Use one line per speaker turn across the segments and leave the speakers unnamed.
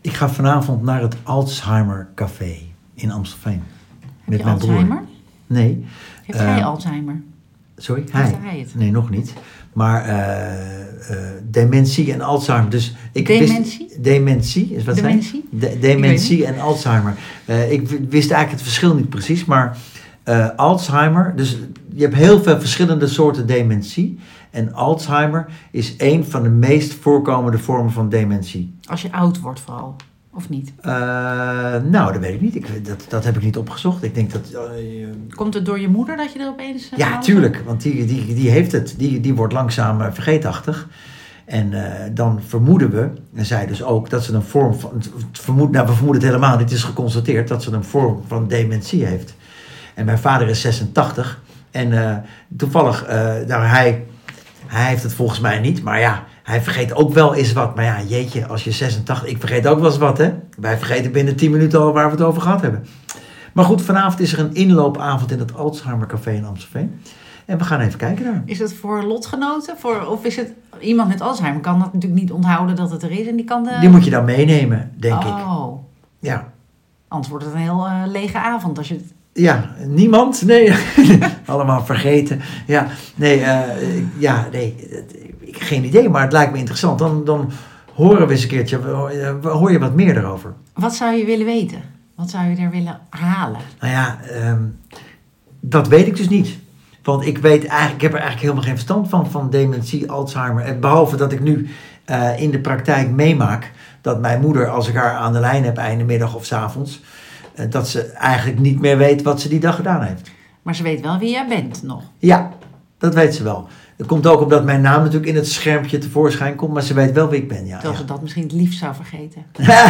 Ik ga vanavond naar het Alzheimer Café in Amstelveen.
Heb je Alzheimer?
Nee.
Heeft
Eh,
hij Alzheimer?
Sorry,
Heeft hij het?
Nee, nog niet. Maar eh, eh, dementie en Alzheimer. Dus ik
Dementie?
Wist, dementie is wat zei ik?
Dementie?
De-
Ik
dementie en Alzheimer. Eh, ik w- wist eigenlijk het verschil niet precies, maar eh, Alzheimer. Dus je hebt heel veel verschillende soorten dementie. En Alzheimer is een van de meest voorkomende vormen van dementie.
Als je oud wordt vooral, of niet?
Eh, nou, dat weet ik niet. Ik, dat, dat heb ik niet opgezocht. Ik denk dat. eh,
Komt het door je moeder dat je er opeens... eh,
Ja,
oud-
tuurlijk, want die, die, die heeft het. Die, die wordt langzaam eh, vergeetachtig. En eh, dan vermoeden we, en zij dus ook, dat ze een vorm van. het Vermoed, nou, we vermoeden het helemaal, dit is geconstateerd, dat ze een vorm van dementie heeft. En mijn vader is 86. En eh, toevallig, eh, nou, hij, hij heeft het volgens mij niet, maar ja, hij vergeet ook wel eens wat. Maar ja, jeetje, als je 86, ik vergeet ook wel eens wat, hè? Wij vergeten binnen 10 minuten al waar we het over gehad hebben. Maar goed, vanavond is er een inloopavond in het Alzheimer Café in Amstelveen. En we gaan even kijken daar.
Is het voor lotgenoten? Voor, of is het... Iemand met Alzheimer kan dat natuurlijk niet onthouden dat het er is. En die kan de...
Die moet je dan meenemen, denk ik.
Eh. Oh,
Ja.
anders wordt het een heel eh, lege avond. Als je het...
Ja, niemand? Nee, allemaal vergeten. Ja, nee, eh, ja, nee, het- ik- geen idee, maar het lijkt me interessant. Dan, dan horen we eens een keertje, we- we- hoor je wat meer erover.
Wat zou je willen weten? Wat zou je er willen halen?
Nou ja, ehm, dat weet ik dus niet. Want ik weet eigenlijk, ik heb er eigenlijk helemaal geen verstand van, van dementie, Alzheimer. En Behalve dat ik nu eh, in de praktijk meemaak dat mijn moeder, als ik haar aan de lijn heb einde middag of 's avonds, eh, dat ze eigenlijk niet meer weet wat ze die dag gedaan heeft.
Maar ze weet wel wie jij bent nog.
Ja, dat weet ze wel. Dat komt ook omdat mijn naam natuurlijk in het schermpje tevoorschijn komt, maar ze weet wel wie ik ben. Ja,
Terwijl
ja.
ze dat misschien het liefst zou vergeten.
nee,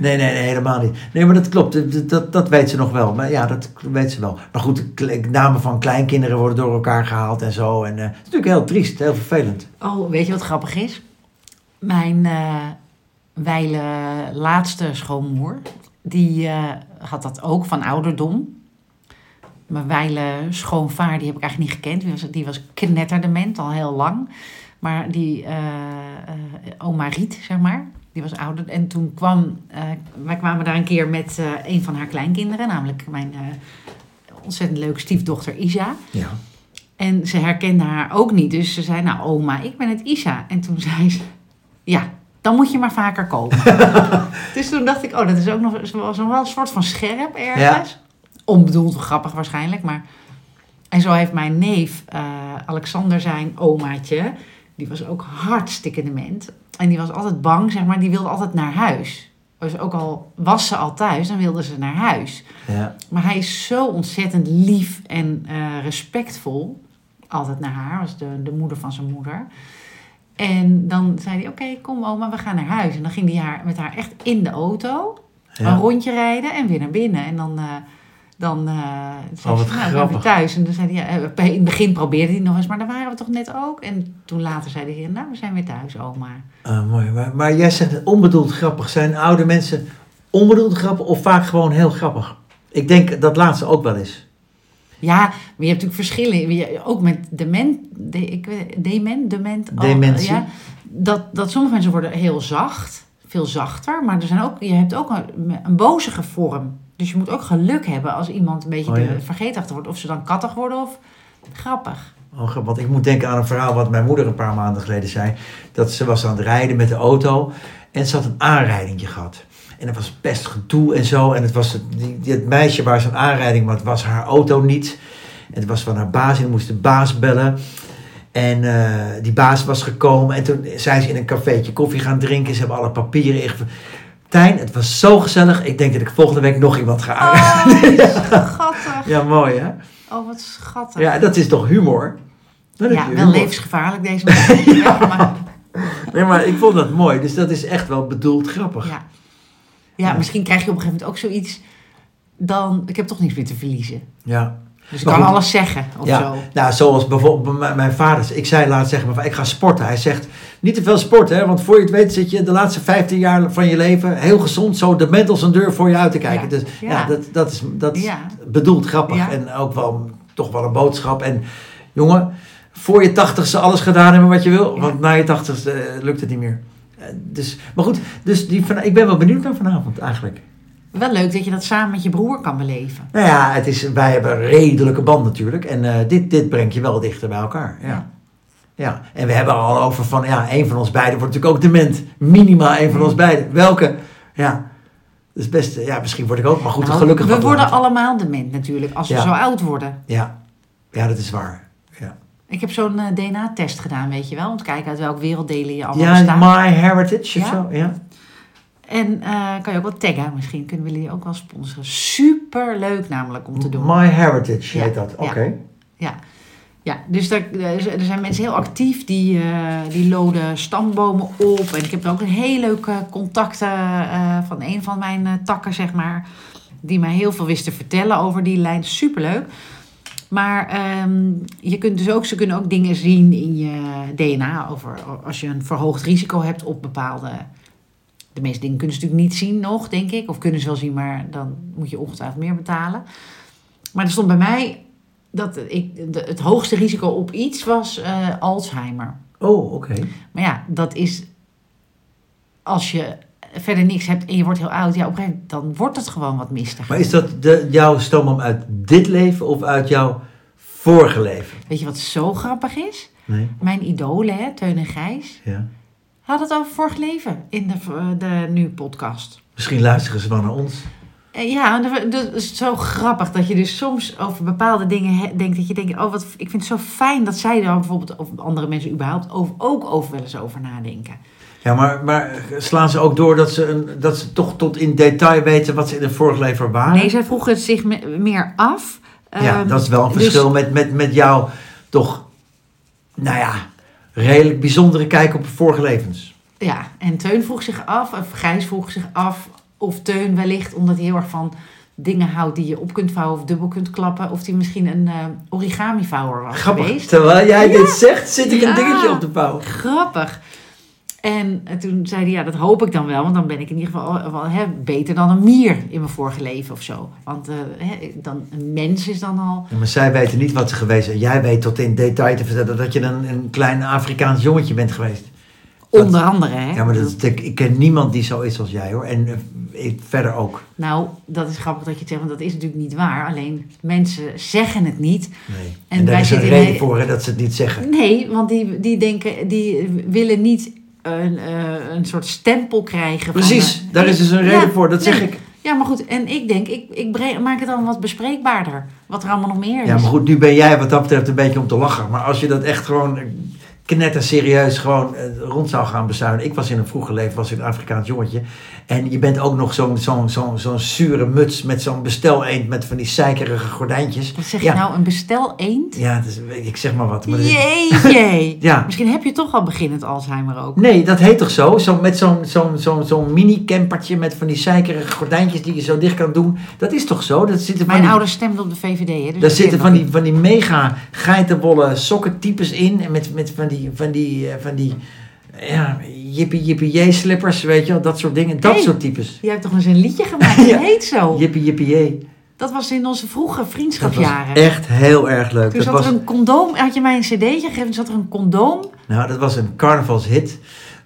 nee, nee, helemaal niet. Nee, maar dat klopt. Dat, dat, dat weet ze nog wel. Maar ja, dat weet ze wel. Maar goed, de kle- namen van kleinkinderen worden door elkaar gehaald en zo. En eh, het is natuurlijk heel triest, heel vervelend.
Oh, weet je wat grappig is? Mijn eh wijle laatste schoonmoer, die eh, had dat ook van ouderdom. Mijn wijle schoonvaar, die heb ik eigenlijk niet gekend. Die was, die was knetterdement al heel lang. Maar die eh eh, oma Riet, zeg maar, die was ouder. En toen kwam, eh, wij kwamen daar een keer met eh, een van haar kleinkinderen, namelijk mijn eh, ontzettend leuke stiefdochter Isa.
Ja.
En ze herkende haar ook niet. Dus ze zei, nou oma, ik ben het Isa. En toen zei ze, ja, dan moet je maar vaker komen. dus toen dacht ik, oh, dat is ook nog, ze was nog wel een soort van scherp ergens. Onbedoeld grappig waarschijnlijk, maar... En zo heeft mijn neef, eh, Alexander, zijn omaatje... Die was ook hartstikke dement. En die was altijd bang, zeg maar. Die wilde altijd naar huis. Dus ook al was ze al thuis, dan wilde ze naar huis.
ja.
Maar hij is zo ontzettend lief en eh, respectvol. Altijd naar haar, was de, de moeder van zijn moeder. En dan zei hij, oké, kom oma, we gaan naar huis. En dan ging hij haar, met haar echt in de auto
Ja.
een rondje rijden en weer naar binnen. En dan, eh, dan eh zei
Oh, wat
ze, nou, ik ben
grappig.
weer thuis. En dan zei hij, ja, eh, in het begin probeerde hij nog eens, maar daar waren we toch net ook. En toen later zei hij, nou, we zijn weer thuis, oma.
Ah, mooi. Maar, maar jij zegt onbedoeld grappig. Zijn oude mensen onbedoeld grappig of vaak gewoon heel grappig? Ik denk dat laatste ook wel is.
Ja, maar je hebt natuurlijk verschillen. Je- Ook met dement, de, ik weet, dement, dement. al-
Dementie.
ja, dat, dat sommige mensen worden heel zacht, veel zachter. Maar er zijn ook, je hebt ook een, een bozige vorm. Dus je moet ook geluk hebben als iemand een beetje
Oh, ja.
de- vergeetachtig wordt. Of ze dan kattig worden of grappig.
Oh, grap, want ik moet denken aan een verhaal wat mijn moeder een paar maanden geleden zei. Dat ze was aan het rijden met de auto en ze had een aanrijdingje gehad. En dat was best gedoe en zo. En het was het, die, die- het meisje waar ze een aanrijding, maar het was haar auto niet. En het was van haar baas en dan moest de baas bellen. En eh, die baas was gekomen en toen zijn ze in een cafeetje koffie gaan drinken. Ze hebben alle papieren ingev- Tijn, het was zo gezellig. Ik denk dat ik volgende week nog iemand ga aanrijden.
Oh, schattig.
Ja, mooi hè?
Oh, wat schattig.
Ja, dat is toch humor? Dat is
Ja, wel
humor.
levensgevaarlijk deze man. ja, maar,
Nee, maar ik vond dat mooi. Dus dat is echt wel bedoeld grappig.
ja. ja, misschien krijg je op een gegeven moment ook zoiets. Dan, ik heb toch niks meer te verliezen.
Ja.
Dus ik
Maar
kan
goed.
alles zeggen of
ja.
zo.
Nou, zoals bijvoorbeeld mijn- mijn vader. Ik zei laatst zeggen, maar ik ga sporten. Hij zegt, niet te veel sporten, hè, want voor je het weet zit je de laatste 15 jaar van je leven heel gezond zo de mentals een deur voor je uit te kijken.
Ja.
Dus ja,
Ja.
dat, dat is, dat is
Ja.
bedoeld grappig
Ja.
en ook wel toch wel een boodschap. En jongen, voor je tachtigste alles gedaan hebben wat je wil,
Ja.
want na je tachtigste eh, lukt het niet meer. Eh, dus, maar goed, dus die van, ik ben wel benieuwd naar vanavond eigenlijk.
Wel leuk dat je dat samen met je broer kan beleven.
Nou ja, het is, wij hebben een redelijke band natuurlijk. En eh, dit, dit brengt je wel dichter bij elkaar. Ja. Ja. En we hebben al over van, ja, een van ons beiden wordt natuurlijk ook dement. Minimaal een
Mm.
van ons beiden. Welke? Ja. Dus best, eh, ja, misschien word ik ook, maar goed,
Nou,
gelukkig
We
wat
worden
later.
allemaal dement natuurlijk als we
Ja.
zo oud worden.
Ja. ja, dat is waar. Ja,
Ik heb zo'n eh, DNA-test gedaan, weet je wel. Om te kijken uit welk werelddelen je allemaal
ja
bestaat.
My Heritage of
Ja.
zo. Ja.
En eh, kan je ook wel taggen misschien. Kunnen we jullie ook wel sponsoren. Super leuk namelijk om te doen.
My Heritage
Ja.
heet dat. Oké.
Ja. Ja, ja dus daar, er er zijn mensen heel actief die, eh, die loden stambomen op. En ik heb er ook een heel leuke contacten eh, van een van mijn eh, takken, zeg maar. Die mij heel veel wist te vertellen over die lijn. Superleuk. Maar ehm, je kunt dus ook, ze kunnen ook dingen zien in je DNA. Over als je een verhoogd risico hebt op bepaalde. De meeste dingen kunnen ze natuurlijk niet zien nog, denk ik. Of kunnen ze wel zien, maar dan moet je ongetwijfeld meer betalen. Maar er stond bij mij dat ik, de- het hoogste risico op iets was eh, Alzheimer.
Oh, oké.
Maar ja, dat is als je verder niks hebt en je wordt heel oud, ja, op een gegeven moment dan wordt het gewoon wat mistiger.
Maar is dat de, jouw stamboom uit dit leven of uit jouw vorige leven?
Weet je wat zo grappig is?
Nee.
Mijn idolen, hè, Teun en Gijs,
Ja.
hadden het over vorig leven in de, eh, de Nu-podcast.
Misschien luisteren ze wel naar ons.
Eh, Ja, dat- dat is zo grappig dat je dus soms over bepaalde dingen he- denkt. Dat je denkt, oh, wat, ik vind het zo fijn dat zij daar bijvoorbeeld, of andere mensen überhaupt, over, ook over wel eens over nadenken.
Ja, maar, maar slaan ze ook door dat ze, een, dat ze toch tot in detail weten wat ze in het vorige leven waren?
Nee, zij vroegen het zich me- meer af.
Ah. ja,
Ehm,
dat is wel een
dus-
verschil met, met, met jouw toch, nou ja, redelijk bijzondere kijk op vorige levens.
Ja, en Teun vroeg zich af, of Gijs vroeg zich af, of Teun wellicht, omdat hij heel erg van dingen houdt die je op kunt vouwen of dubbel kunt klappen, of die misschien een origami vouwer was
Grappig.
geweest.
Terwijl jij dit zegt, zit ik
Ja.
een dingetje op te bouwen.
Grappig. En eh, toen zei hij, ja, dat hoop ik dan wel, want dan ben ik in ieder geval eh, wel, hè, beter dan een mier in mijn vorige leven of zo. Want eh, hè, dan, een mens is dan al
Ja, maar zij weten niet wat ze geweest zijn. Jij weet tot in detail te vertellen dat je een, een klein Afrikaans jongetje bent geweest. Dat-
onder andere. Hè?
Ja, maar dat, is- ik ken niemand die zo is als jij hoor. En eh, ik verder ook.
Nou, dat is grappig dat je het zegt, want dat is natuurlijk niet waar. Alleen mensen zeggen het niet.
Nee. En,
En
daar
wij
is een
zitten in
reden
een-
voor hè, dat ze het niet zeggen.
Nee, want die, die denken, die willen niet een, eh, een soort stempel krijgen. van,
Precies,
eh,
daar is dus een
ja,
reden voor, dat zeg
nee.
ik.
Ja, maar goed, en ik denk, ik, ik bre- maak het dan wat bespreekbaarder. Wat er allemaal nog meer is.
Ja, maar goed, nu ben jij wat dat betreft een beetje om te lachen. Maar als je dat echt gewoon eh, knetterserieus gewoon eh, rond zou gaan bezuinigen. Ik was in een vroeger leven, was ik een Afrikaans jongetje. En je bent ook nog zo'n zo'n zo'n zo'n zure muts met zo'n bestel eend met van die zeikerige gordijntjes.
Wat zeg
ja.
je nou, een bestel eend?
Ja, het is- ik zeg maar wat. Maar dat is-
Jeetje.
Ja.
Misschien heb je toch al beginnend Alzheimer ook.
Nee, dat heet toch zo? zo met zo'n zo'n zo'n zo'n mini-campertje met van die zeikerige gordijntjes die je zo dicht kan doen. Dat is toch zo? Dat zitten van
Mijn
die-
ouders stemden op de VVD. Hè, dus
Daar
ik
zitten
ken
van
dat.
die, van die mega geitenwolle sokkentypes in. En met, met van die, van die, eh, van die ja, jippie jippie jee slippers, weet je wel. Dat soort dingen. Dat
Hey.
soort types.
Jij hebt toch eens een liedje gemaakt, dat
Ja.
heet zo.
Jippie jippie jee.
Dat was in onze vroege
Dat was
vriendschapjaren.
echt heel erg leuk.
Toen
Dat
Dus zat
was,
er een condoom, had je mij een cd'tje gegeven, toen zat er een condoom.
nou, dat was een carnavalshit.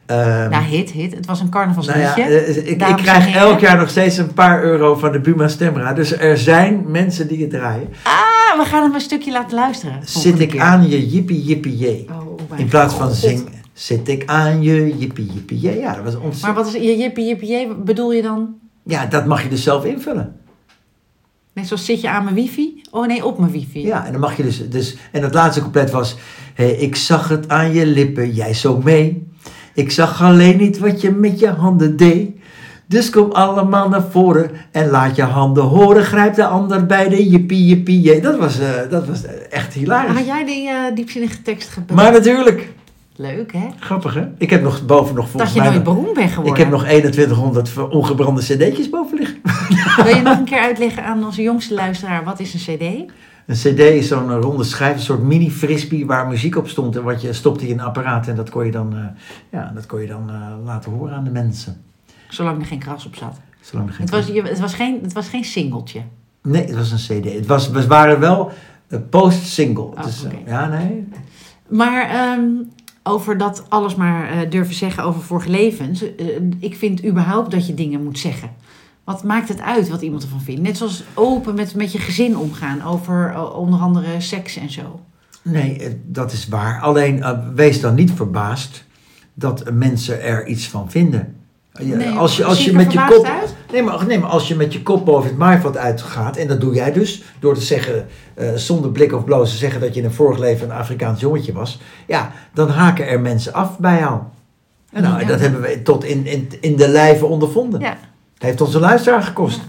Ehm,
Nou, hit, hit. Het was een
nou ja,
carnavalsliedje.
eh, ik, ik
dames en
krijg
heren.
elk jaar nog steeds een paar euro van de Buma Stemra. Dus er zijn mensen die het draaien.
Ah, we gaan hem een stukje laten luisteren.
Zit ik aan je jippie jippie jee.
Oh,
In plaats van
zingen.
zing, zit ik aan je jippie jippie jee. Ja, dat was
Maar
ontzettend.
wat is je jippie jippie jee? Bedoel je dan?
Ja, dat mag je dus zelf invullen.
Net zoals zit je aan mijn wifi? Oh nee, op mijn wifi.
Ja, en dan mag je dus. dus en het laatste couplet was. Hé, ik zag het aan je lippen, jij zo mee. Ik zag alleen niet wat je met je handen deed. Dus kom allemaal naar voren en laat je handen horen. Grijp de ander bij de jippie jippie. jee. Dat was, eh, dat was echt hilarisch.
Had jij die eh, diepzinnige tekst gebruikt?
Maar natuurlijk,
Leuk hè?
grappig hè? Ik heb nog boven nog
Dat
volgens
je
mij.
nooit
nog-
beroemd bent geworden.
Ik heb nog 2100 ver- ongebrande cd'tjes boven liggen.
Wil je nog een keer uitleggen aan onze jongste luisteraar wat is een cd?
Een cd is zo'n eh, ronde schijf, een soort mini frisbee waar muziek op stond. En wat je stopte in een apparaat en dat kon je dan, eh, ja, dat kon je dan eh, laten horen aan de mensen.
Zolang er geen kras op zat.
Zolang er geen
Het was, je- het was, geen, het was geen singeltje.
Nee, het was een cd. Het was, we waren wel eh, post-single.
Oh,
Dus, eh,
oké.
Ja, nee.
Maar ehm, over dat alles maar eh, durven zeggen over vorige levens. Eh, ik vind überhaupt dat je dingen moet zeggen. Wat maakt het uit wat iemand ervan vindt? Net zoals open met, met je gezin omgaan over eh, onder andere seks en zo.
Nee, eh, dat is waar. Alleen eh, wees dan niet verbaasd dat mensen er iets van vinden. Ja,
Nee,
als je, als
zie
je
ik er
met je
verbaasd
kop,
uit?
nee, maar, nee, maar als je met je kop boven het maaiveld uitgaat, en dat doe jij dus door te zeggen, eh, zonder blik of bloos te zeggen dat je in een vorig leven een Afrikaans jongetje was, ja, dan haken er mensen af bij jou. En nou,
Ja.
dat hebben we tot in, in, in de lijve ondervonden.
Ja,
Het heeft ons een luisteraar gekost.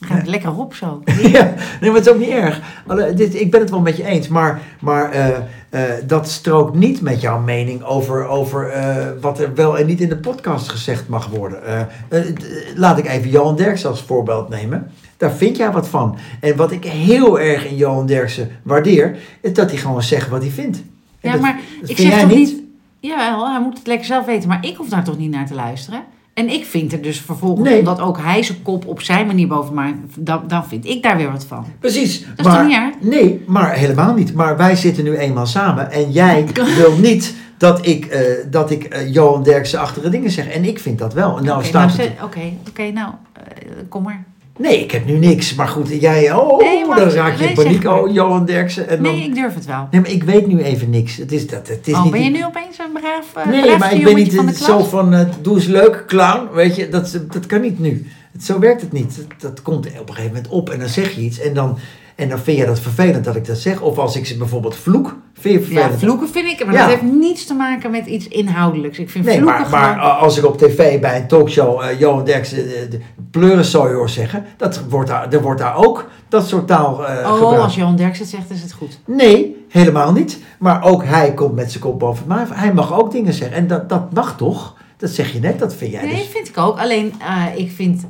gaat het lekker op zo.
Ja, nee, maar het is ook niet erg. Alle- dit, ik ben het wel met je eens, maar, maar eh, eh, dat strookt niet met jouw mening over, over eh, wat er wel en niet in de podcast gezegd mag worden. Eh, eh, d- laat ik even Johan Derksen als voorbeeld nemen. Daar vind jij wat van. En wat ik heel erg in Johan Derksen waardeer, is dat hij gewoon zegt wat hij vindt. En
Ja,
dat-
maar
dat
ik
vind
zeg
jij
toch niet... Jawel, hij moet het lekker zelf weten. Maar ik hoef daar toch niet naar te luisteren? En ik vind er dus vervolgens,
Nee.
omdat ook hij zijn kop op zijn manier boven maakt, dan, dan vind ik daar weer wat van.
Precies.
is
maar,
toch niet erg?
Nee, maar helemaal niet. Maar wij zitten nu eenmaal samen en jij wil niet dat ik, eh, dat ik eh, Johan Derksen-achtige dingen zeg. En ik vind dat wel. En nou
Oké,
staat
nou,
het...
ze- Oké, oké, nou, eh, kom maar.
Nee, ik heb nu niks. Maar goed, jij... Oh,
Nee, maar-
dan raak je in
nee, zeg
paniek.
maar.
Oh, Johan Derksen. En dan...
Nee, ik durf het wel.
Nee, maar ik weet nu even niks. Het is, dat, het is
Oh,
niet...
ben je nu opeens een braaf, eh
Nee,
braaf
maar ik ben
jongetje
niet
van de
eh,
klas?
zo van, eh, doe eens leuk, clown, weet je, dat, dat kan niet nu. Zo werkt het niet. Dat, dat komt op een gegeven moment op en dan zeg je iets en dan, en dan vind je dat vervelend dat ik dat zeg. Of als ik ze bijvoorbeeld vloek, vind je het
Ja,
vervelend.
vloeken vind ik, maar
Ja.
dat heeft niets te maken met iets inhoudelijks. Ik vind
Nee,
vloeken
maar, maar
gewoon...
eh, als ik op tv bij een talkshow eh, Johan Derksen eh, de pleurensooi hoor zeggen, dat wordt daar, er wordt daar ook dat soort taal eh
oh,
gebruikt.
als Johan Derks het zegt, is het goed.
Nee, helemaal niet. Maar ook hij komt met zijn kop boven het maaiveld. Hij mag ook dingen zeggen en dat, dat mag toch? Dat zeg je net, dat vind jij
Nee,
dus.
vind ik ook. Alleen, eh, ik vind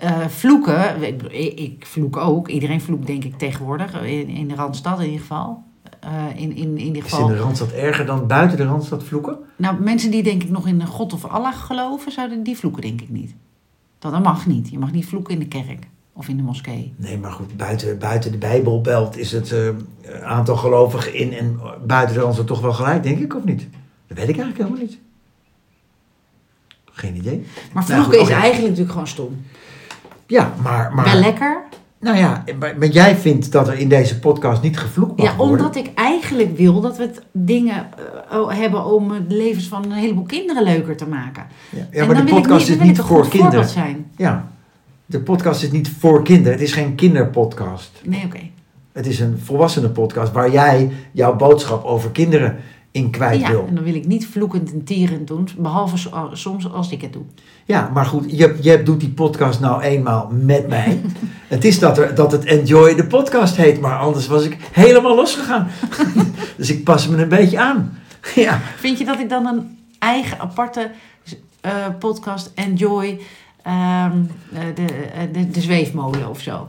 eh, vloeken... Ik, ik vloek ook. Iedereen vloekt, denk ik, tegenwoordig. eh, In, in de Randstad in ieder geval. Eh, in, in, in ieder
Is in
geval...
de Randstad erger dan buiten de Randstad vloeken?
Nou, mensen die denk ik nog in een God of Allah geloven... zouden die vloeken, denk ik, niet. Dat, dat mag niet. Je mag niet vloeken in de kerk. Of in de moskee.
Nee, maar goed, buiten, buiten de Bijbelbelt is het eh, aantal gelovigen in en buiten de Randstad toch wel gelijk, denk ik, of niet? Dat weet ik eigenlijk helemaal niet. Geen idee.
Maar
Nou,
vloeken
goed,
is
oké.
eigenlijk natuurlijk gewoon stom.
Ja, maar... maar
Wel lekker.
nou ja, maar, maar jij vindt dat er in deze podcast niet gevloekt mag
Ja, omdat
worden.
ik eigenlijk wil dat we het dingen eh, oh, hebben om het levens van een heleboel kinderen leuker te maken.
Ja,
En
ja maar
dan
de
wil ik
podcast
dan
is
wil ik
niet
een
voor
goed voorbeeld
kinderen.
zijn.
Ja, de podcast is niet voor kinderen. Het is geen kinderpodcast.
Nee, oké.
Het is een volwassenenpodcast waar jij jouw boodschap over kinderen in kwijt
Ja,
wil.
en dan wil ik niet vloekend en tierend doen, behalve so- soms als ik het doe.
Ja, maar goed, je, je doet die podcast nou eenmaal met mij. het is dat, er, dat het Enjoy de Podcast heet, maar anders was ik helemaal losgegaan. dus ik pas me een beetje aan. ja.
Vind je dat ik dan een eigen aparte eh, podcast enjoy ehm, eh, de, eh, de, de zweefmolen of zo?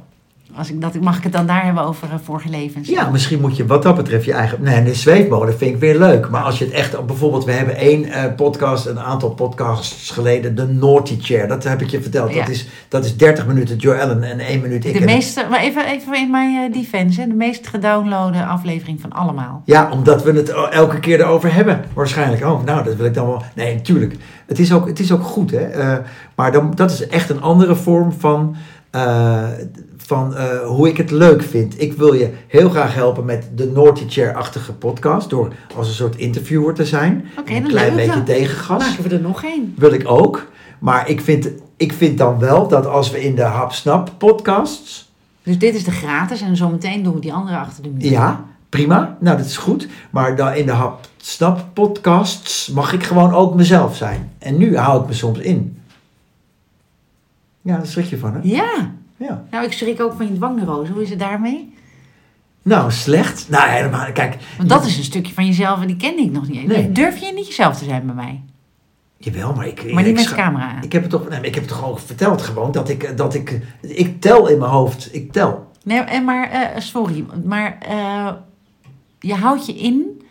Als ik dat, mag ik het dan daar hebben over eh, vorige levens?
ja, misschien moet je wat dat betreft je eigen... Nee, de zweefmolen vind ik weer leuk. Maar als je het echt... Bijvoorbeeld, we hebben één eh, podcast, een aantal podcasts geleden, de Naughty Chair. Dat heb ik je verteld.
Ja.
Dat, is, dat is 30 minuten Joe Allen en 1 minuut ik.
De
en-
meeste, maar even, even in mijn eh, defense, hè, de meest gedownloade aflevering van allemaal.
Ja, omdat we het elke keer erover hebben, waarschijnlijk. Oh, nou, dat wil ik dan wel. Nee, natuurlijk. Het is ook, het is ook goed, hè. Eh, maar dan, dat is echt een andere vorm van, eh, van eh, hoe ik het leuk vind. Ik wil je heel graag helpen met de Naughty Chair-achtige podcast... door als een soort interviewer te zijn.
Oké,
een
dan
klein
doen we het
beetje
wel.
tegengas.
Maken we er nog één?
Wil ik ook. Maar ik vind, ik vind dan wel dat als we in de Hap Snap podcasts...
Dus dit is de gratis en zometeen doen we die andere achter de muur.
Ja, prima. Nou, dat is goed. Maar dan in de hap snap podcasts mag ik gewoon ook mezelf zijn. En nu hou ik me soms in. Ja, daar schrik je van, hè?
Ja.
Ja.
Nou, ik schrik ook van je dwangneurose. Hoe is het daarmee?
Nou, slecht. Nou, helemaal. Kijk,
Want dat is een stukje van jezelf en die kende ik nog niet eens.
Nee.
Durf je niet jezelf te zijn bij mij?
jawel, maar ik.
Maar
ik
niet met
scha-
de camera aan.
Ik heb het toch, nee, maar ik heb het toch ook verteld gewoon dat ik, dat ik, ik tel in mijn hoofd. Ik tel.
Nee, en maar eh, sorry, maar eh, je houdt je in.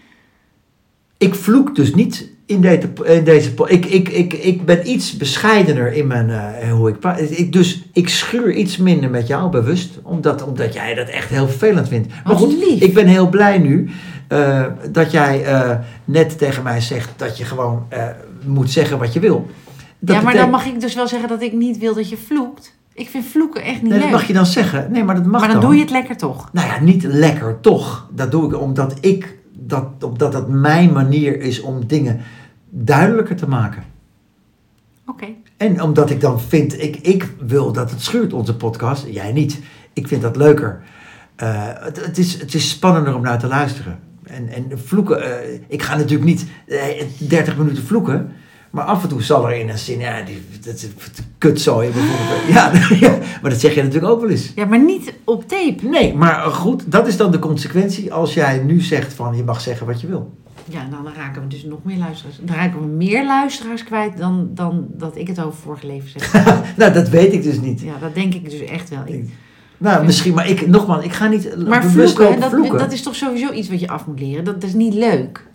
Ik vloek dus niet in, deze in deze. po- Ik, ik, ik, ik ben iets bescheidener in mijn. eh, hoe ik, pra- ik, dus ik schuur iets minder met jou bewust. Omdat, omdat jij dat echt heel vervelend vindt. Maar
Wat
goed,
lief.
ik ben heel blij nu. eh, eh, dat jij eh, net tegen mij zegt dat je gewoon eh, moet zeggen wat je wil. Dat
ja, maar
betekent-
dan mag ik dus wel zeggen dat ik niet wil dat je vloekt. Ik vind vloeken echt niet
Nee,
leuk.
dat mag je dan zeggen. Nee, maar dat mag
maar dan, doe je het lekker toch?
Nou ja, niet lekker toch. Dat doe ik omdat ik dat, omdat dat mijn manier is om dingen duidelijker te maken.
Oké.
En omdat ik dan vind, ik, ik wil dat het schuurt, onze podcast. Jij niet. Ik vind dat leuker. Eh, het, het, is, het is spannender om naar te luisteren. En, en vloeken, eh, ik ga natuurlijk niet eh, 30 minuten vloeken. Maar af en toe zal er in een zin, ja, die, dat, dat- kutzooien bijvoorbeeld. Ja, ja, maar dat zeg je natuurlijk ook wel eens.
Ja, maar niet op tape.
Nee, maar goed, dat is dan de consequentie als jij nu zegt van je mag zeggen wat je wil.
Ja, nou, dan raken we dus nog meer luisteraars. Dan raken we meer luisteraars kwijt dan, dan dat ik het over vorige leven zeg.
Nou, dat weet ik dus niet.
ja, dat denk ik dus echt wel. Ik-
Nou, misschien, maar ik, nogmaals, ik ga niet
maar
bewust
vloeken,
lopen
dat,
vloeken.
dat is toch sowieso iets wat je af moet leren. Dat, dat is niet leuk.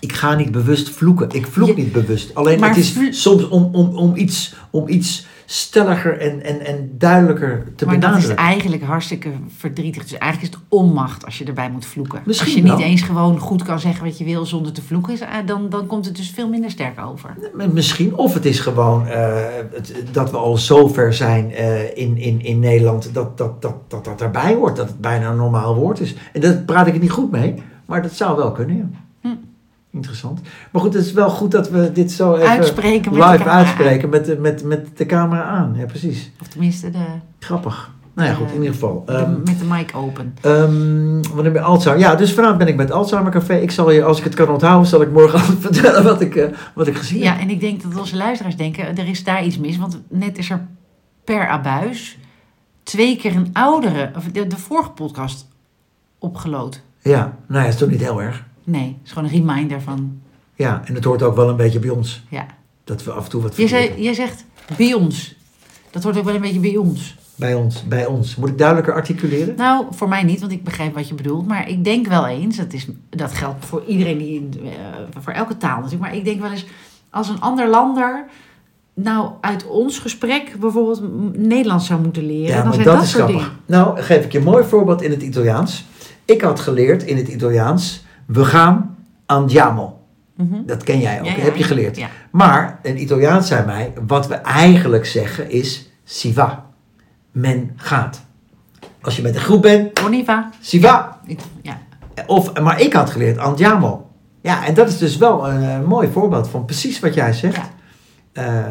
Ik ga niet bewust vloeken. Ik vloek
Je-
niet bewust. Alleen
Maar
het is
vlo-
soms om, om, om, iets, om iets stelliger en, en, en duidelijker te
maar dat
benaderen.
is eigenlijk hartstikke verdrietig. Dus eigenlijk is het onmacht als je erbij moet vloeken.
Misschien
als je niet
wel.
eens gewoon goed kan zeggen wat je wil zonder te vloeken, is- eh, dan, dan komt het dus veel minder sterk over.
M- Misschien. Of het is gewoon eh, het- dat we al zo ver zijn eh, in, in, in Nederland dat dat, dat, dat dat erbij hoort. Dat het bijna een normaal woord is. En daar praat ik het niet goed mee, maar dat zou wel kunnen. Ja.
Hm.
Interessant. Maar goed, het is wel goed dat we dit zo even
Uitspreken met de
live
camera
uitspreken met, de- met, met de camera aan. Ja, precies.
Of tenminste, de,
Grappig. Nou ja, goed, in ieder geval.
Eh, de-
Ehm,
met de mic open.
Ehm wanneer ben je Alzheimer? Ja, dus vanavond ben ik bij het Alzheimer Café. Ik zal je, als ik het kan onthouden, zal ik morgen al vertellen wat ik, eh, wat ik gezien
Ja,
heb.
en ik denk dat onze luisteraars denken, er is daar iets mis. Want net is er per abuis twee keer een oudere, of de, de vorige podcast, opgelood.
Ja, nou ja, is toch niet heel erg.
Nee, het is gewoon een reminder van,
Ja, en het hoort ook wel een beetje bij ons.
ja.
Dat we af en toe wat
Jij,
verkeerd
zei,
doen.
jij zegt, bij ons. Dat hoort ook wel een beetje bij ons.
Bij ons, bij ons. Moet ik duidelijker articuleren?
Nou, voor mij niet, want ik begrijp wat je bedoelt. Maar ik denk wel eens, dat, is, dat geldt voor iedereen, die, eh, voor elke taal natuurlijk. Maar ik denk wel eens, als een ander lander nou uit ons gesprek bijvoorbeeld m- Nederlands zou moeten leren. dan zijn dat, soort dingen.
Nou, geef ik je een mooi voorbeeld in het Italiaans. Ik had geleerd in het Italiaans, we gaan andiamo.
Mhm.
Dat ken jij ook,
Ja, ja.
heb je geleerd.
Ja.
Maar een Italiaans zei mij, wat we eigenlijk zeggen is si va. Men gaat. Als je met een groep bent,
Boniva.
si va.
Ik- Ja.
Of, maar ik had geleerd andiamo. Ja, en dat is dus wel een, eh, mooi voorbeeld van precies wat jij zegt.
Ja.
Eh,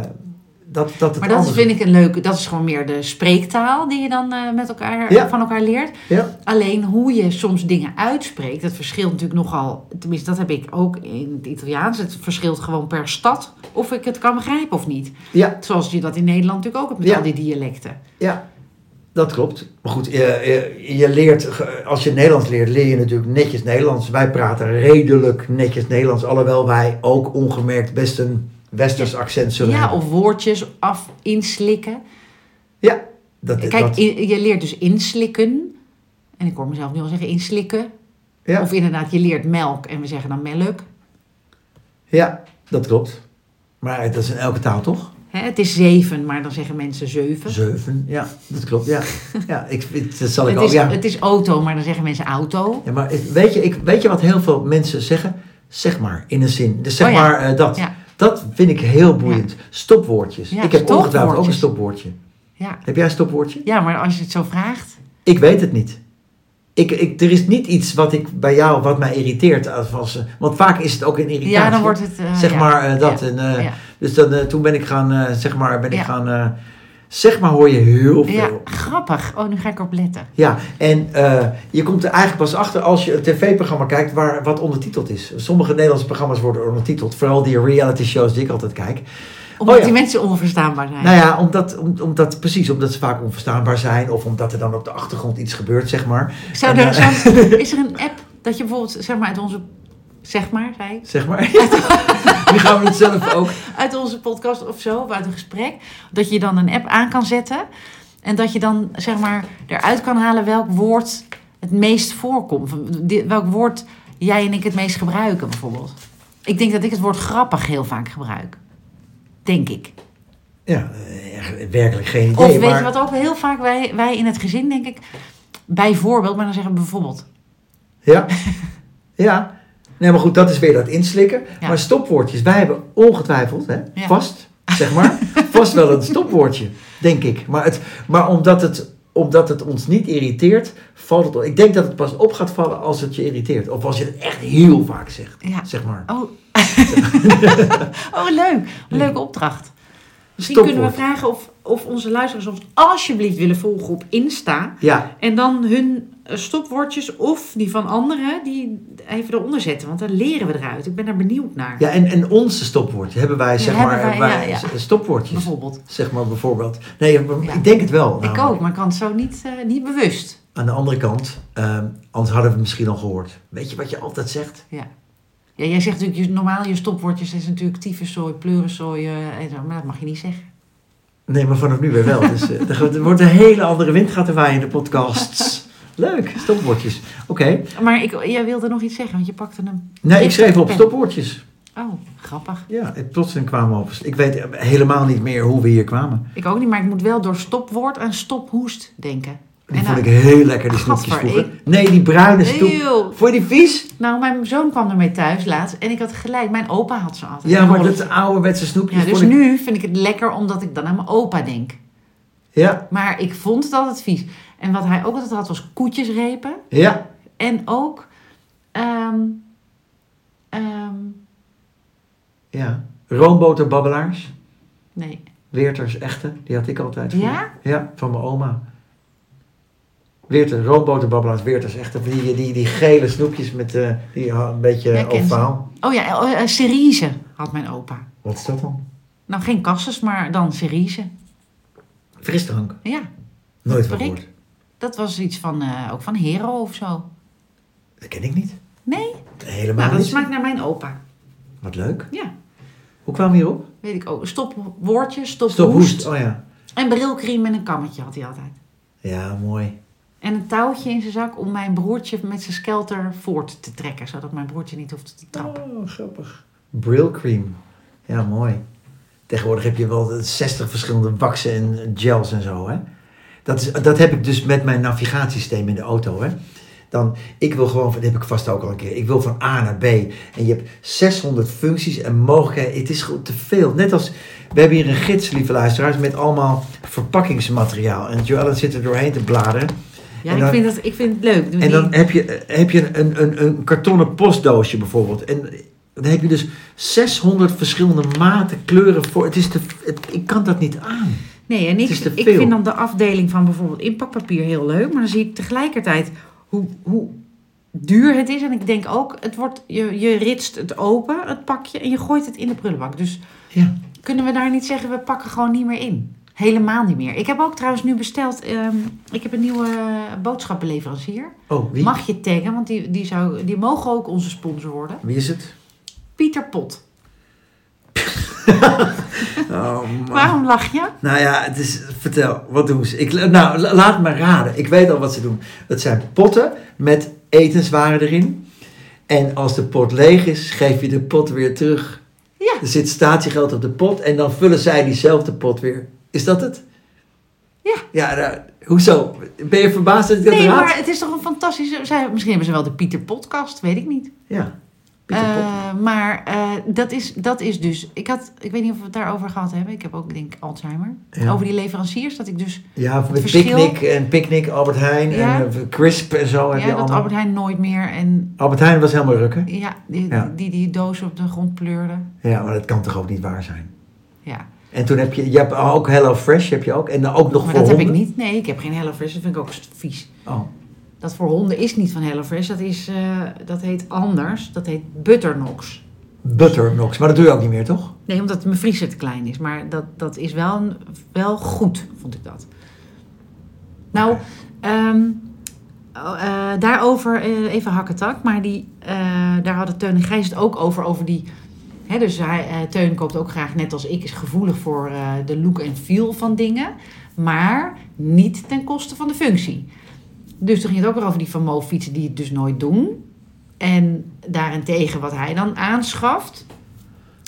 dat, dat het
Maar dat is,
anders
vind ik een leuke, dat is gewoon meer de spreektaal die je dan eh, met elkaar,
Ja.
van elkaar leert.
Ja,
Alleen hoe je soms dingen uitspreekt, dat verschilt natuurlijk nogal. Tenminste, dat heb ik ook in het Italiaans. Het verschilt gewoon per stad of ik het kan begrijpen of niet.
ja,
Zoals je dat in Nederland natuurlijk ook hebt met
Ja.
al die dialecten.
ja, dat klopt. Maar goed, je, je, je leert, ge- als je Nederlands leert, leer je natuurlijk netjes Nederlands. Wij praten redelijk netjes Nederlands, alhoewel wij ook ongemerkt best een westers accent zullen
Ja,
hebben.
of woordjes af inslikken.
Ja, dat,
Kijk,
dat,
i- je leert dus inslikken. En ik hoor mezelf nu al zeggen inslikken.
ja,
Of inderdaad, je leert melk en we zeggen dan melk.
ja, dat klopt. Maar dat is in elke taal toch?
Hè, het is zeven, maar dan zeggen mensen zeven.
Zeven, ja, dat klopt. Ja, ja ik, ik- dat zal ik
Het
ook.
is,
ja.
het is auto, maar dan zeggen mensen auto.
Ja, maar ik- weet je, ik, weet je wat heel veel mensen zeggen? Zeg maar, in een zin. Dus zeg
Oh ja.
maar eh, dat.
Ja.
Dat vind ik heel boeiend. Stopwoordjes.
Ja,
ik heb ongetwijfeld ook een
stopwoordjes.
stopwoordje.
Ja.
Heb jij een stopwoordje?
ja, maar als je het zo vraagt.
Ik weet het niet. Ik, ik, er is niet iets wat ik bij jou, wat mij irriteert. Als, als, eh, want vaak is het ook een irritatie.
Ja, dan wordt het. eh,
Zeg
ja.
maar eh, dat.
Ja.
En, eh,
Ja.
Dus dan, eh, toen ben ik gaan, eh, zeg maar, ben ik
Ja.
gaan, eh, zeg maar hoor je heel veel.
Ja, grappig. Oh, nu ga ik erop letten.
Ja, en eh, je komt er eigenlijk pas achter als je een tv-programma kijkt waar wat ondertiteld is. Sommige Nederlandse programma's worden ondertiteld, vooral die reality shows die ik altijd kijk.
Omdat
Oh ja.
die mensen onverstaanbaar zijn.
Nou ja, omdat, om- omdat, precies, omdat ze vaak onverstaanbaar zijn of omdat er dan op de achtergrond iets gebeurt, zeg maar.
Zou
En,
er,
eh,
zou- is er een app dat je bijvoorbeeld, zeg maar, uit onze. Zeg maar, zei ik.
Zeg maar. Nu gaan we het zelf ook.
Uit onze podcast of zo, of uit een gesprek. Dat je dan een app aan kan zetten. En dat je dan, zeg maar, eruit kan halen welk woord het meest voorkomt. Van di- Welk woord jij en ik het meest gebruiken, bijvoorbeeld. Ik denk dat ik het woord grappig heel vaak gebruik. Denk ik.
Ja, eh, werkelijk geen idee.
Of weet
maar,
je wat ook heel vaak wij, wij in het gezin, denk ik, bijvoorbeeld, maar dan zeggen we bijvoorbeeld.
Ja. Ja, nee, maar goed, dat is weer dat inslikken.
Ja.
Maar stopwoordjes, wij hebben ongetwijfeld, hè,
Ja.
vast, zeg maar, vast wel een stopwoordje, denk ik. Maar, het, maar omdat, het, omdat het ons niet irriteert, valt het op. Ik denk dat het pas op gaat vallen als het je irriteert. Of als je het echt heel vaak zegt,
Ja.
zeg maar.
Oh. oh, leuk. Leuke opdracht.
Misschien
Stopwoord.
kunnen we vragen of, of onze luisteraars ons alsjeblieft willen volgen op Insta.
Ja,
En dan hun eh, stopwoordjes of die van anderen, die even eronder zetten. Want dan leren we eruit. Ik ben daar benieuwd naar.
ja en, en onze stopwoordje hebben wij, zeg
hebben
maar,
wij,
wij-
ja,
stopwoordjes.
Bijvoorbeeld.
Zeg maar bijvoorbeeld. Nee,
Ja.
ik denk het wel. nou.
Ik
namelijk.
ook, maar ik kan het zo niet, eh, niet bewust.
Aan de andere kant, ehm, anders hadden we het misschien al gehoord. Weet je wat je altijd zegt?
Ja. Ja, jij zegt natuurlijk, je, normaal je stopwoordjes is natuurlijk tyfuszooi, pleurenzooi, eh, en zo, maar dat mag je niet zeggen.
Nee, maar vanaf nu weer wel. Dus, eh, er gaat- er wordt een hele andere wind gaat er waaien in de podcasts. Leuk, stopwoordjes. Oké.
Maar ik, jij wilde nog iets zeggen, want je pakte hem.
Nee, ik schreef op stopwoordjes.
Oh, grappig.
Ja, en plotseling kwamen we op. Ik weet helemaal niet meer hoe we hier kwamen.
Ik ook niet, maar ik moet wel door stopwoord aan stophoest denken.
Die
En,
vond
eh,
ik heel lekker, die snoepjes
gadver,
vroeger. Nee, die bruine snoep.
Eeuw.
Vond je die vies?
Nou, mijn zoon kwam ermee thuis laatst en ik had gelijk. Mijn opa had ze altijd.
Ja, maar
Rolletjes.
dat ouderwetse snoepjes
Ja, dus
vond ik...
nu vind ik het lekker omdat ik dan aan mijn opa denk.
Ja,
Maar ik vond het altijd vies. En wat hij ook altijd had was koetjesrepen.
ja.
En ook... ehm, ehm,
ja. Roomboterbabbelaars.
nee.
Weerters echte, die had ik altijd. vroeger.
Ja?
Ja, van mijn oma. Weerter, roomboterbabbelaars, Weerters echte. Die, die, die, die gele snoepjes met eh, die, ah, een beetje
Ja, ik ken ze.
ovaal.
Oh ja, eh, eh, cerise had mijn opa.
Wat is dat dan?
Nou, geen kasses, maar dan cerise.
Frisdrank.
Ja,
Nooit van
Prik.
gehoord.
dat was iets van, eh, ook van Hero of zo.
Dat ken ik niet.
Nee?
Helemaal
Nou, dat
niet.
smaakt naar mijn opa.
Wat leuk.
Ja,
Hoe kwamen we hierop?
Weet ik ook. Stopwoordje, stophoest.
Stop hoest. Oh ja.
En brilkriem en een kammetje had hij altijd.
Ja, mooi.
En een touwtje in zijn zak om mijn broertje met zijn skelter voort te trekken. Zodat mijn broertje niet hoeft te trappen.
Oh, grappig. Brilcream. Ja, mooi. Tegenwoordig heb je wel 60 verschillende waksen en gels en zo, hè? Dat, is, dat heb ik dus met mijn navigatiesysteem in de auto, hè? Dan, ik wil gewoon, van- dat heb ik vast ook al een keer, ik wil van A naar B. En je hebt 600 functies en mogelijkheden. Het is gewoon te veel. Net als, we hebben hier een gids, lieve luisteraars, met allemaal verpakkingsmateriaal. En Joellen zit er doorheen te bladeren.
ja
En
ik,
dan-
vind dat, ik vind het leuk. Doe
En
die-
dan heb je, heb je een, een, een kartonnen postdoosje bijvoorbeeld. En dan heb je dus 600 verschillende maten, kleuren voor. Het is te, het- ik kan dat niet aan.
Nee, en ik,
Het is te
ik
veel.
vind dan de afdeling van bijvoorbeeld inpakpapier heel leuk. Maar dan zie ik tegelijkertijd hoe, hoe duur het is. En ik denk ook, het wordt, je, je ritst het open, het pakje, en je gooit het in de prullenbak. Dus
Ja.
Kunnen we daar niet zeggen, we pakken gewoon niet meer in? Helemaal niet meer. Ik heb ook trouwens nu besteld, ehm, ik heb een nieuwe eh, boodschappenleverancier.
Oh, wie?
Mag je taggen, want die, die, zou, die mogen ook onze sponsor worden.
Wie is het?
Pieter Pot.
Oh, man.
Waarom lach je?
Nou ja, het is, vertel, wat doen ze? Ik, nou, la- laat me raden. Ik weet al wat ze doen. Het zijn potten met etenswaren erin. En als de pot leeg is, geef je de pot weer terug.
Ja.
Er zit statiegeld op de pot en dan vullen zij diezelfde pot weer. Is dat het?
Ja.
Ja, nou, hoezo? Ben je verbaasd dat ik dat
Nee,
raad?
maar het is toch een fantastische... Zij, misschien hebben ze wel de Pieter Podcast, weet ik niet.
Ja, Pieter Pot.
Eh, maar eh, dat, is, dat is dus... Ik, had, ik weet niet of we het daarover gehad hebben. Ik heb ook, denk ik, Alzheimer.
Ja. Oh,
Over die leveranciers, dat ik dus...
Ja, met
verschil-
picknick en picknick, Albert Heijn
Ja.
en eh, Crisp en zo. heb je
Ja, dat
allemaal.
Albert Heijn nooit meer en
Albert Heijn was helemaal rukken.
Ja, die
Ja.
Die, die doos op de grond pleurde.
Ja, maar dat kan toch ook niet waar zijn?
Ja,
En toen heb je, je hebt ook Hello Fresh, heb je ook. En dan ook nog
maar
voor
dat heb ik
honden.
niet. Nee, ik heb geen HelloFresh. Dat vind ik ook st- vies.
Oh,
Dat voor honden is niet van HelloFresh. Dat, is, eh, dat heet anders. Dat heet Butternox.
Butternox. Maar dat doe je ook niet meer, toch?
Nee, omdat mijn vriezer te klein is. Maar dat, dat is wel, een- wel goed, vond ik dat. Nou, ehm, oh, eh, daarover eh, even hakketak. Maar die, eh, daar hadden Teun en Gijs het ook over. Over die, hè, dus hij, eh, Teun koopt ook graag, net als ik, is gevoelig voor eh, de look en feel van dingen. Maar niet ten koste van de functie. Dus toen ging het ook weer over die Van Moof fietsen die het dus nooit doen. En daarentegen wat hij dan aanschaft,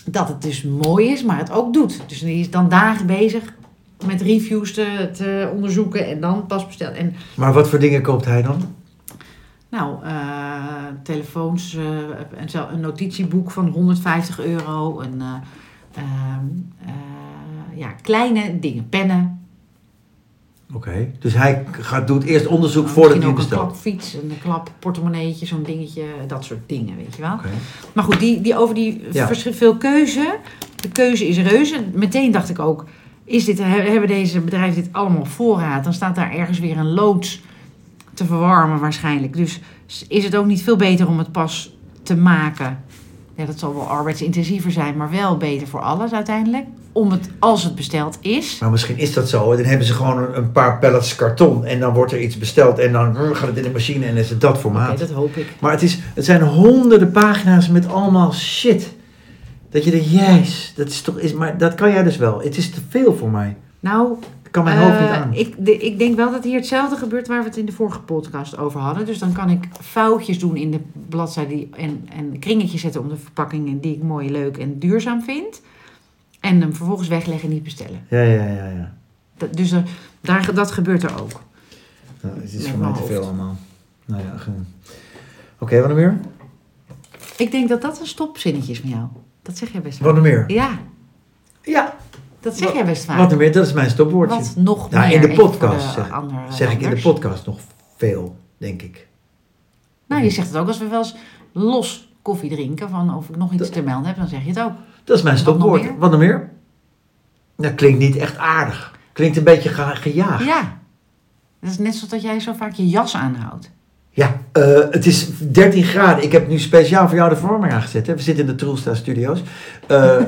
dat het dus mooi is, maar het ook doet. Dus die is dan dagen bezig met reviews te, te onderzoeken en dan pas besteld. En
Maar wat voor dingen koopt hij dan?
Nou, eh, telefoons, eh, en zo, een notitieboek van 150 euro. Een, eh, ehm, eh, ja, kleine dingen, pennen.
Oké. Dus hij gaat, doet eerst onderzoek
Nou,
voordat hij
misschien
het
ook een
bestelt.
klapfiets, een klap portemonneetje, zo'n dingetje. Dat soort dingen, weet je wel.
Oké.
Maar goed, die, die over die
Ja.
verschil, veel keuze. De keuze is reuze. Meteen dacht ik ook, is dit, he- hebben deze bedrijven dit allemaal op voorraad? Dan staat daar ergens weer een loods te verwarmen waarschijnlijk. Dus s- is het ook niet veel beter om het pas te maken? Ja, dat zal wel arbeidsintensiever zijn, maar wel beter voor alles uiteindelijk. Om het, als het besteld is.
Maar Nou, misschien is dat zo. Dan hebben ze gewoon een- een paar pallets karton en dan wordt er iets besteld en dan mm, gaat het in de machine en is het dat
Oké,
formaat.
dat hoop ik.
Maar het, is, het zijn honderden pagina's met allemaal shit. Dat je denkt, jezus, dat is toch... Is, maar dat kan jij dus wel. Het is te veel voor mij.
Nou,
Ik kan mijn hoofd niet
Eh,
aan.
Ik, de- ik denk wel dat hier hetzelfde gebeurt waar we het in de vorige podcast over hadden. Dus dan kan ik foutjes doen in de bladzijde die- en, en kringetjes zetten om de verpakkingen die ik mooi, leuk en duurzaam vind. En hem vervolgens wegleggen en niet bestellen.
Ja, ja, ja, ja.
Dat, dus er- daar, dat gebeurt er ook.
Nou, het
Met
is voor mij
mijn
te veel
hoofd.
allemaal. Nou ja, gewoon. Oké, wat nog meer?
Ik denk dat dat een stopzinnetje is van jou. Dat zeg jij best vaak.
Wat nog meer?
Ja,
Ja,
dat zeg
Wat-
jij best vaak.
wat nog meer? Dat is mijn stopwoordje.
Wat nog
Nou,
meer?
in de
Even voor
podcast,
de
zeg-
andere
zeg ik in de
anders.
podcast nog veel, denk ik.
Nou, je zegt het ook als we wel eens los koffie drinken. Van of ik nog iets
Dat-
te melden heb, dan zeg je het ook.
Dat is mijn
Wat nog
stopwoord.
meer?
Wat nog meer? Dat klinkt niet echt aardig. Klinkt een beetje ge- gejaagd.
Ja. Dat is net zoals dat jij zo vaak je jas aanhoudt.
Ja, eh, het is 13 graden. Ik heb nu speciaal voor jou de verwarming aangezet. Hè. We zitten in de Troelstra Studios. Eh,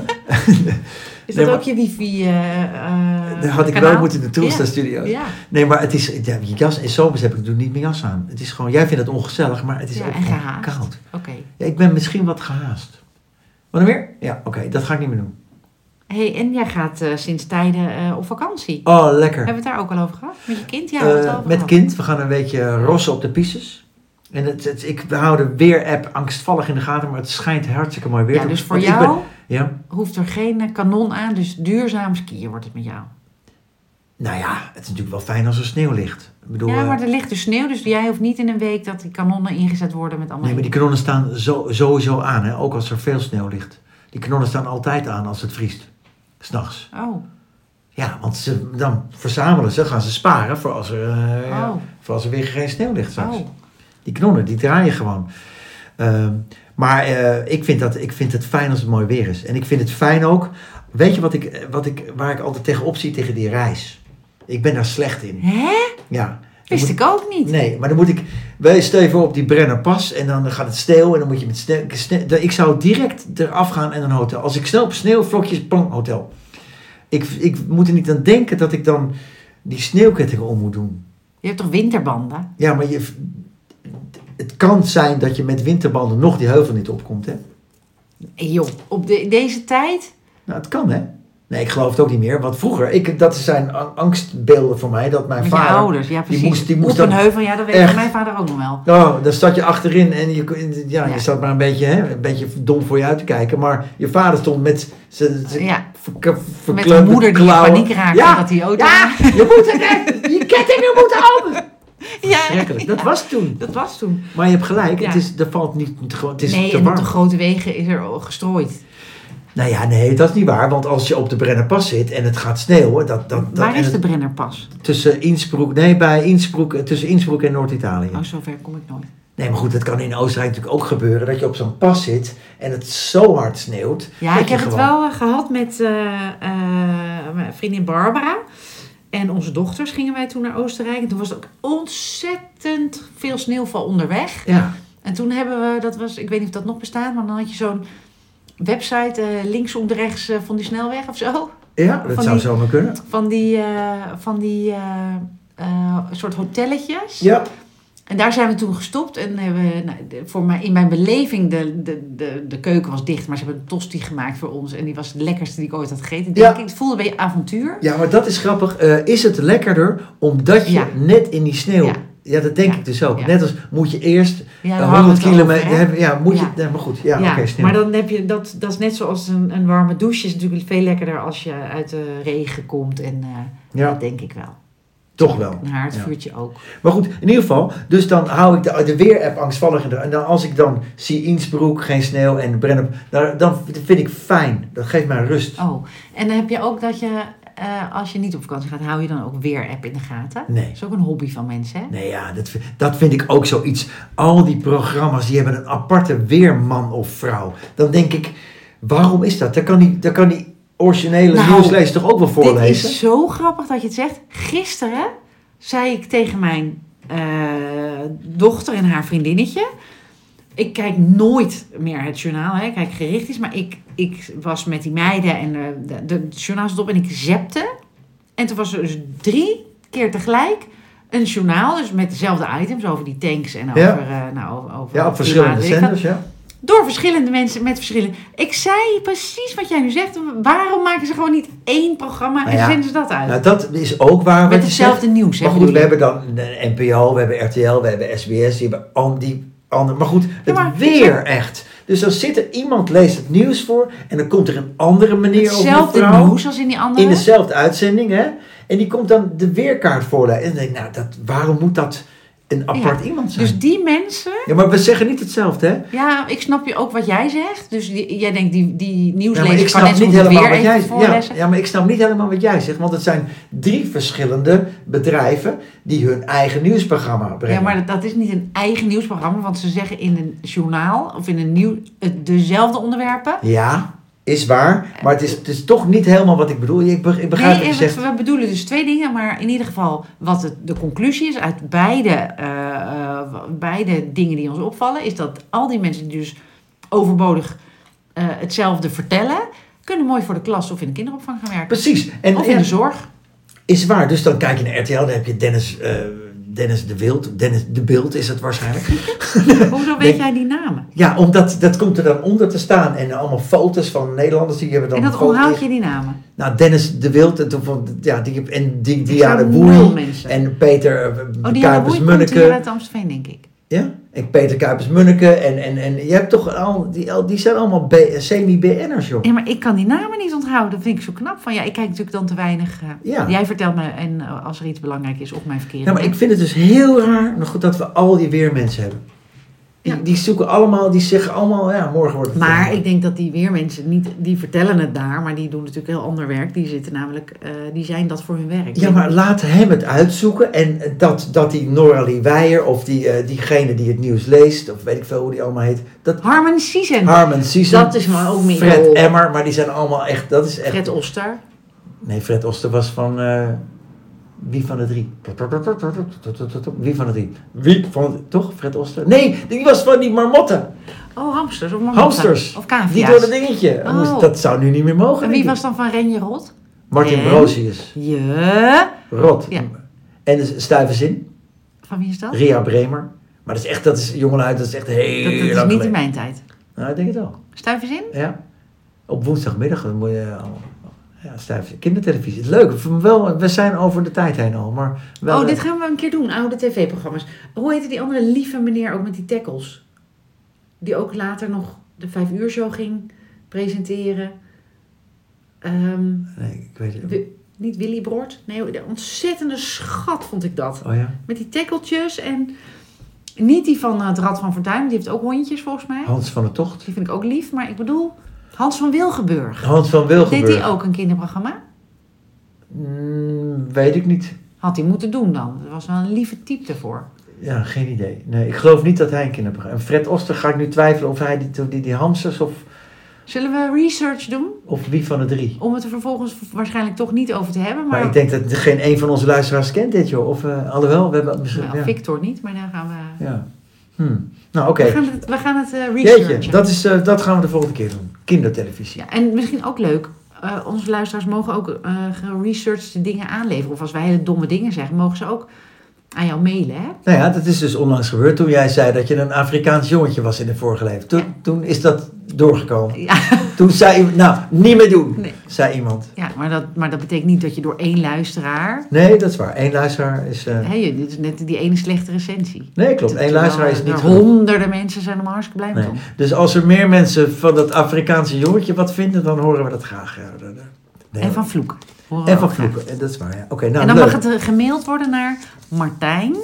Is
Nee,
dat
maar-
ook je wifi? eh eh,
dat had ik
kanaal?
wel moeten in de Troelstra Studios.
Ja,
Nee, maar het is... Ja, je jas in zomers heb ik toen niet mijn jas aan. Het is gewoon... Jij vindt het ongezellig, maar het is
Ja,
ook
en
gewoon
gehaast.
koud.
oké.
Ja, ik ben misschien wat gehaast. Wat nog meer? Ja, oké. dat ga ik niet meer doen.
hey, en jij gaat eh, sinds tijden eh, op vakantie.
Oh, lekker.
Hebben we het daar ook al over gehad? Met je kind? Ja, we
Eh,
hebben we het al over
met
gehad.
kind. We gaan een beetje rossen op de pistes. En het, het- ik hou de weer-app angstvallig in de gaten, maar het schijnt hartstikke mooi weer.
Ja,
te-
dus voor
want ik
jou...
ben- ja?
hoeft er geen eh, kanon aan, dus duurzaam skiën wordt het met jou.
Nou ja, het is natuurlijk wel fijn als er sneeuw ligt. Ik bedoel,
ja,
eh,
maar er ligt dus sneeuw, dus jij hoeft niet in een week dat die kanonnen ingezet worden met allemaal...
nee, maar die kanonnen staan zo, sowieso aan, hè? ook als er veel sneeuw ligt. Die kanonnen staan altijd aan als het vriest. S'nachts.
Oh,
Ja, want ze, dan verzamelen ze, gaan ze sparen voor als er, eh,
oh,
voor als er weer geen sneeuw ligt straks.
oh.
Die knonnen, die draaien gewoon. Ehm, maar eh, ik, vind dat, ik vind het fijn als het mooi weer is. En ik vind het fijn ook. Weet je wat ik, wat ik, waar ik altijd tegenop zie tegen die reis? Ik ben daar slecht in.
Hè?
Ja. Dan
Wist
moet-
ik ook niet.
Nee, maar dan moet ik. Wij steven op die Brennerpas en dan gaat het sneeuw en dan moet je met sneeuw. sne- ik zou direct eraf gaan en een hotel. Als ik snel op sneeuwvlokjes, bang, hotel. Ik, ik moet er niet aan denken dat ik dan die sneeuwkettingen om moet doen.
Je hebt toch winterbanden?
Ja, maar je, het kan zijn dat je met winterbanden nog die heuvel niet opkomt, hè?
Eh, joh, op de, deze tijd?
Nou, het kan, hè? Nee, ik geloof het ook niet meer. Want vroeger, ik, dat zijn an- angstbeelden voor mij, dat mijn
Met je
vader...
ouders, ja precies.
moest- die moest
op een
dan-
heuvel, ja dat weet
Echt.
mijn vader ook nog wel.
Oh, dan zat je achterin en je, kon- ja,
Ja.
je zat maar een beetje, hè, een beetje dom voor je uit te kijken. Maar je vader stond met zijn zijn
Ja.
verk-
Met
verkleurde
een moeder die in
klauwen.
paniek raakt
Ja,
omdat die auto...
ja, je moet het hè, je kettingen moeten open.
ja.
Schrikkelijk, dat was toen.
dat was toen.
Maar je hebt gelijk,
Ja.
het, is, er valt niet, het gewoon- het is
nee,
te
en op
warm.
de grote wegen is er gestrooid.
Nou ja, nee, dat is niet waar. Want als je op de Brennerpas zit en het gaat sneeuwen... Dat, dat, dat,
Waar
en
is de
het-
Brennerpas?
Tussen Innsbruck... Nee, bij Innsbruck, eh, tussen Innsbruck en Noord-Italië.
Oh, zover kom ik nooit.
Nee, maar goed, dat kan in Oostenrijk natuurlijk ook gebeuren. Dat je op zo'n pas zit en het zo hard sneeuwt.
Ja,
dat
ik
je
heb het
gewoon-
wel eh, gehad met eh, eh, mijn vriendin Barbara. En onze dochters gingen wij toen naar Oostenrijk. En toen was er ook ontzettend veel sneeuwval onderweg.
Ja,
En toen hebben we, dat was, ik weet niet of dat nog bestaat, maar dan had je zo'n website eh, links om de rechts eh, van die snelweg of zo.
ja dat
Van
zou
die-
zomaar kunnen.
Van die, eh, van die eh, eh, soort hotelletjes.
Ja,
En daar zijn we toen gestopt en hebben we, nou, de- voor mij, in mijn beleving, de, de, de, de keuken was dicht, maar ze hebben een tosti gemaakt voor ons en die was het lekkerste die ik ooit had gegeten.
Ja.
Denk ik, het voelde bij je avontuur.
ja maar dat is grappig. Eh, is het lekkerder omdat je
Ja.
net in die sneeuw...
Ja.
Ja. dat denk
Ja.
ik dus ook.
Ja.
Net als moet je eerst
Ja,
eh,
daar hadden we
100
het over,
kilometer...
hè?
hebben- ja, moet je...
Ja.
Nee, maar goed, ja,
Ja,
oké, sneeuw.
maar dan heb je dat, dat is net zoals een, een warme douche, is natuurlijk veel lekkerder als je uit de regen komt en eh,
Ja.
dat denk ik wel.
Toch wel.
Een
Ja.
haardvuurtje ook.
Maar goed, in ieder geval. Dus dan hou ik de, de weer-app angstvallig. in de- En dan, als ik dan zie Innsbruck, geen sneeuw en Brennup. daar- Dan vind ik fijn. Dat geeft mij rust.
Oh, en dan heb je ook dat je, eh, als je niet op vakantie gaat, hou je dan ook weer app in de gaten?
Nee.
Dat is ook een hobby van mensen, hè?
Nee, ja, dat, vind- dat vind ik ook zoiets. Al die programma's die hebben een aparte weerman of vrouw. Dan denk ik, waarom is dat? Daar kan die, daar kan die originele
Nou,
nieuwslezer toch ook wel
Dit
voorlezen?
is zo grappig dat je het zegt. Gisteren zei ik tegen mijn eh, dochter en haar vriendinnetje. Ik kijk nooit meer het journaal, hè. ik kijk gericht is. Maar ik, ik was met die meiden en eh, de, de, het journaal stond op en ik zepte. En toen was er dus drie keer tegelijk een journaal. Dus met dezelfde items over die tanks en over...
Ja.
eh, nou, over, over
Ja, op
klimaat,
verschillende
weet ik wat.
zenders, ja.
Door verschillende mensen met verschillende. Ik zei precies wat jij nu zegt. Waarom maken ze gewoon niet één programma en
Nou ja,
zenden ze dat uit?
Nou, dat is ook waar.
met
wat je zegt.
hetzelfde nieuws. Hè,
Maar goed,
bedoel
we
je?
hebben dan de NPO, we hebben RTL, we hebben SBS, die hebben al die andere. Maar goed, het
maar-
weer echt. Dus dan zit er iemand, leest het nieuws voor en dan komt er een andere manier over de
hetzelfde
vrouw.
nieuws als in die andere.
In dezelfde uitzending, hè? En die komt dan de weerkaart voorlezen. En dan denk ik, nou, dat, waarom moet dat een apart iemand zijn?
Dus die mensen.
Ja, maar we zeggen niet hetzelfde, hè?
Ja, ik snap je ook wat jij zegt. Dus die- jij denkt die, die
Ja, maar
nieuwslezer
ik
kan
snap
net zo
niet
goed
helemaal
weer
wat
even
jij
voorlezen.
Ja, ja, maar ik snap niet helemaal wat jij zegt, want het zijn drie verschillende bedrijven die hun eigen nieuwsprogramma brengen.
Ja, maar dat, dat is niet een eigen nieuwsprogramma. Want ze zeggen in een journaal of in een nieuw, het- dezelfde onderwerpen.
Ja, is waar. Maar het is, het is toch niet helemaal wat ik bedoel. Ik, be- ik begrijp
nee,
wat je
Evert,
zegt.
we bedoelen dus twee dingen, maar in ieder geval wat het, de conclusie is uit beide, eh, eh, w- beide dingen die ons opvallen, is dat al die mensen die dus overbodig eh, hetzelfde vertellen, kunnen mooi voor de klas of in de kinderopvang gaan werken.
Precies. En,
Of in
en-
de zorg.
is waar. Dus dan kijk je naar RTL, dan heb je Dennis, eh, Dennis de Wild. Dennis de Beeld is het waarschijnlijk.
Hoezo weet
Nee.
jij die namen?
Ja, omdat dat komt er dan onder te staan. En allemaal foto's van Nederlanders die hebben dan
En dat
foto's.
onthoud je die namen.
Nou, Dennis de Wild en, toen vond- ja, die, en die,
Ik
Dia de
zou
Boer.
nul mensen.
En Peter
oh,
eh,
die hadden
Kuipers
boeit komt hier
Munneke.
uit Amstelveen, denk ik.
Ja? En Peter Kuipers Munneke. En, en, en je hebt toch al, die, al, die zijn allemaal B- semi-BN'ers, joh.
Ja, maar ik kan die namen niet onthouden. Dat vind ik zo knap van. Ja, ik kijk natuurlijk dan te weinig. eh,
Ja.
Jij vertelt me, en eh, als er iets belangrijk is, op mijn verkeerde.
Ja, maar ik vind het dus heel raar nog goed, dat we al die weermensen hebben. Die,
Ja.
die zoeken allemaal, die zeggen allemaal, ja, morgen wordt het
Maar
weer.
ik denk dat die weermensen niet, die vertellen het daar, maar die doen natuurlijk heel ander werk. Die zitten namelijk, eh, die zijn dat voor hun werk.
Ja, maar laat hem het uitzoeken. En eh, dat, dat die Noralie Weijer of die, eh, diegene die het nieuws leest, of weet ik veel hoe die allemaal heet. Dat
Harmon Sisen,
Harman Sison,
Dat is maar ook meer
Fred
rol.
Emmer, maar die zijn allemaal echt, dat is echt...
Fred Oster.
Nee, Fred Oster was van... eh, wie van de drie? Wie van de drie? Wie van de... Toch? Fred Oster? Nee, die was van die marmotten.
Oh, hamsters of marmotten.
Hamsters.
Of
Die door dat
cavia's.
dingetje.
Oh.
Moest- Dat zou nu niet meer mogen.
En
denk
wie
ik.
was dan van Renje Rot?
Martin
En?
Brosius.
Je.
Rot.
Ja.
En de stuive zin.
Van wie is dat?
Ria Bremer. Maar dat is echt, dat is jongeluid, dat is echt heel
Dat, dat is
lang
niet in
geleden.
mijn tijd.
Nou, ik denk het wel.
Stuif eens in.
Ja. Op woensdagmiddag dan moet je eh, allemaal... Ja, stuive zin. Kindertelevisie. Het leuke, van wel, we zijn over de tijd heen al, maar wel... eh,
oh, dit gaan we een keer doen. Oude tv-programma's. Hoe heette die andere lieve meneer ook met die tackles? Die ook later nog de vijf uur show ging presenteren. Ehm
Nee, ik weet het niet.
Wi- niet Willy Broert. Nee, de ontzettende schat vond ik dat.
Oh ja.
Met die tackeltjes en niet die van eh, het Rad van Fortuin. Die heeft ook hondjes volgens mij.
Hans van der Tocht.
Die vind ik ook lief, maar ik bedoel Hans van Wilgenburg.
Hans van
Deed
Wilgenburg.
die ook een kinderprogramma?
Mm, weet ik niet.
Had hij moeten doen dan. Er was wel een lieve type ervoor.
Ja, geen idee. Nee, ik geloof niet dat hij een kinderprogramma... En Fred Oster ga ik nu twijfelen of hij die, die, die hamsters of,
Zullen we research doen?
of wie van de drie.
Om het er vervolgens waarschijnlijk toch niet over te hebben. Maar,
Maar ik denk dat geen een van onze luisteraars kent dit, joh. Of, eh alhoewel, we hebben misschien...
Nou,
ja.
Victor niet, maar dan gaan we...
ja. Hm. Nou, oké.
We gaan het, we gaan het eh, researchen.
Jeetje, dat, is, eh, dat gaan we de volgende keer doen. Kindertelevisie.
Ja, en misschien ook leuk. eh, onze luisteraars mogen ook eh geresearched dingen aanleveren. Of als wij hele domme dingen zeggen, mogen ze ook aan jou mailen. Hè?
Nou ja, dat is dus onlangs gebeurd toen jij zei dat je een Afrikaans jongetje was in het vorige leven. Toen, toen is dat doorgekomen.
Ja,
Toen zei iemand, nou, niet meer doen,
Nee.
zei iemand.
ja maar, dat, maar dat betekent niet dat je door één luisteraar.
Nee, dat is waar. Eén luisteraar is... eh,
Hè, je- dit is net die ene slechte recensie.
Nee, klopt. Eén
Terwijl
luisteraar is
er
niet genoeg.
Honderden mensen zijn er maar hartstikke blij mee.
Nee. Dus als er meer mensen van dat Afrikaanse jongetje wat vinden, dan horen we dat graag. Ja, dat- dat- Nee,
en van vloeken. Horen we
en van
ook graag.
vloeken, eh, dat is waar. Ja. Oké, nou
en dan
leuk.
mag het eh, gemaild worden naar Martijn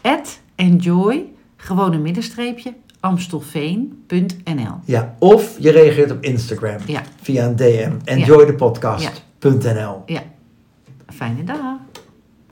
at enjoy, gewone middenstreepje, amstelveen.nl.
Ja, of je reageert op Instagram
Ja.
via een DM. Enjoythepodcast.nl
Ja, fijne dag.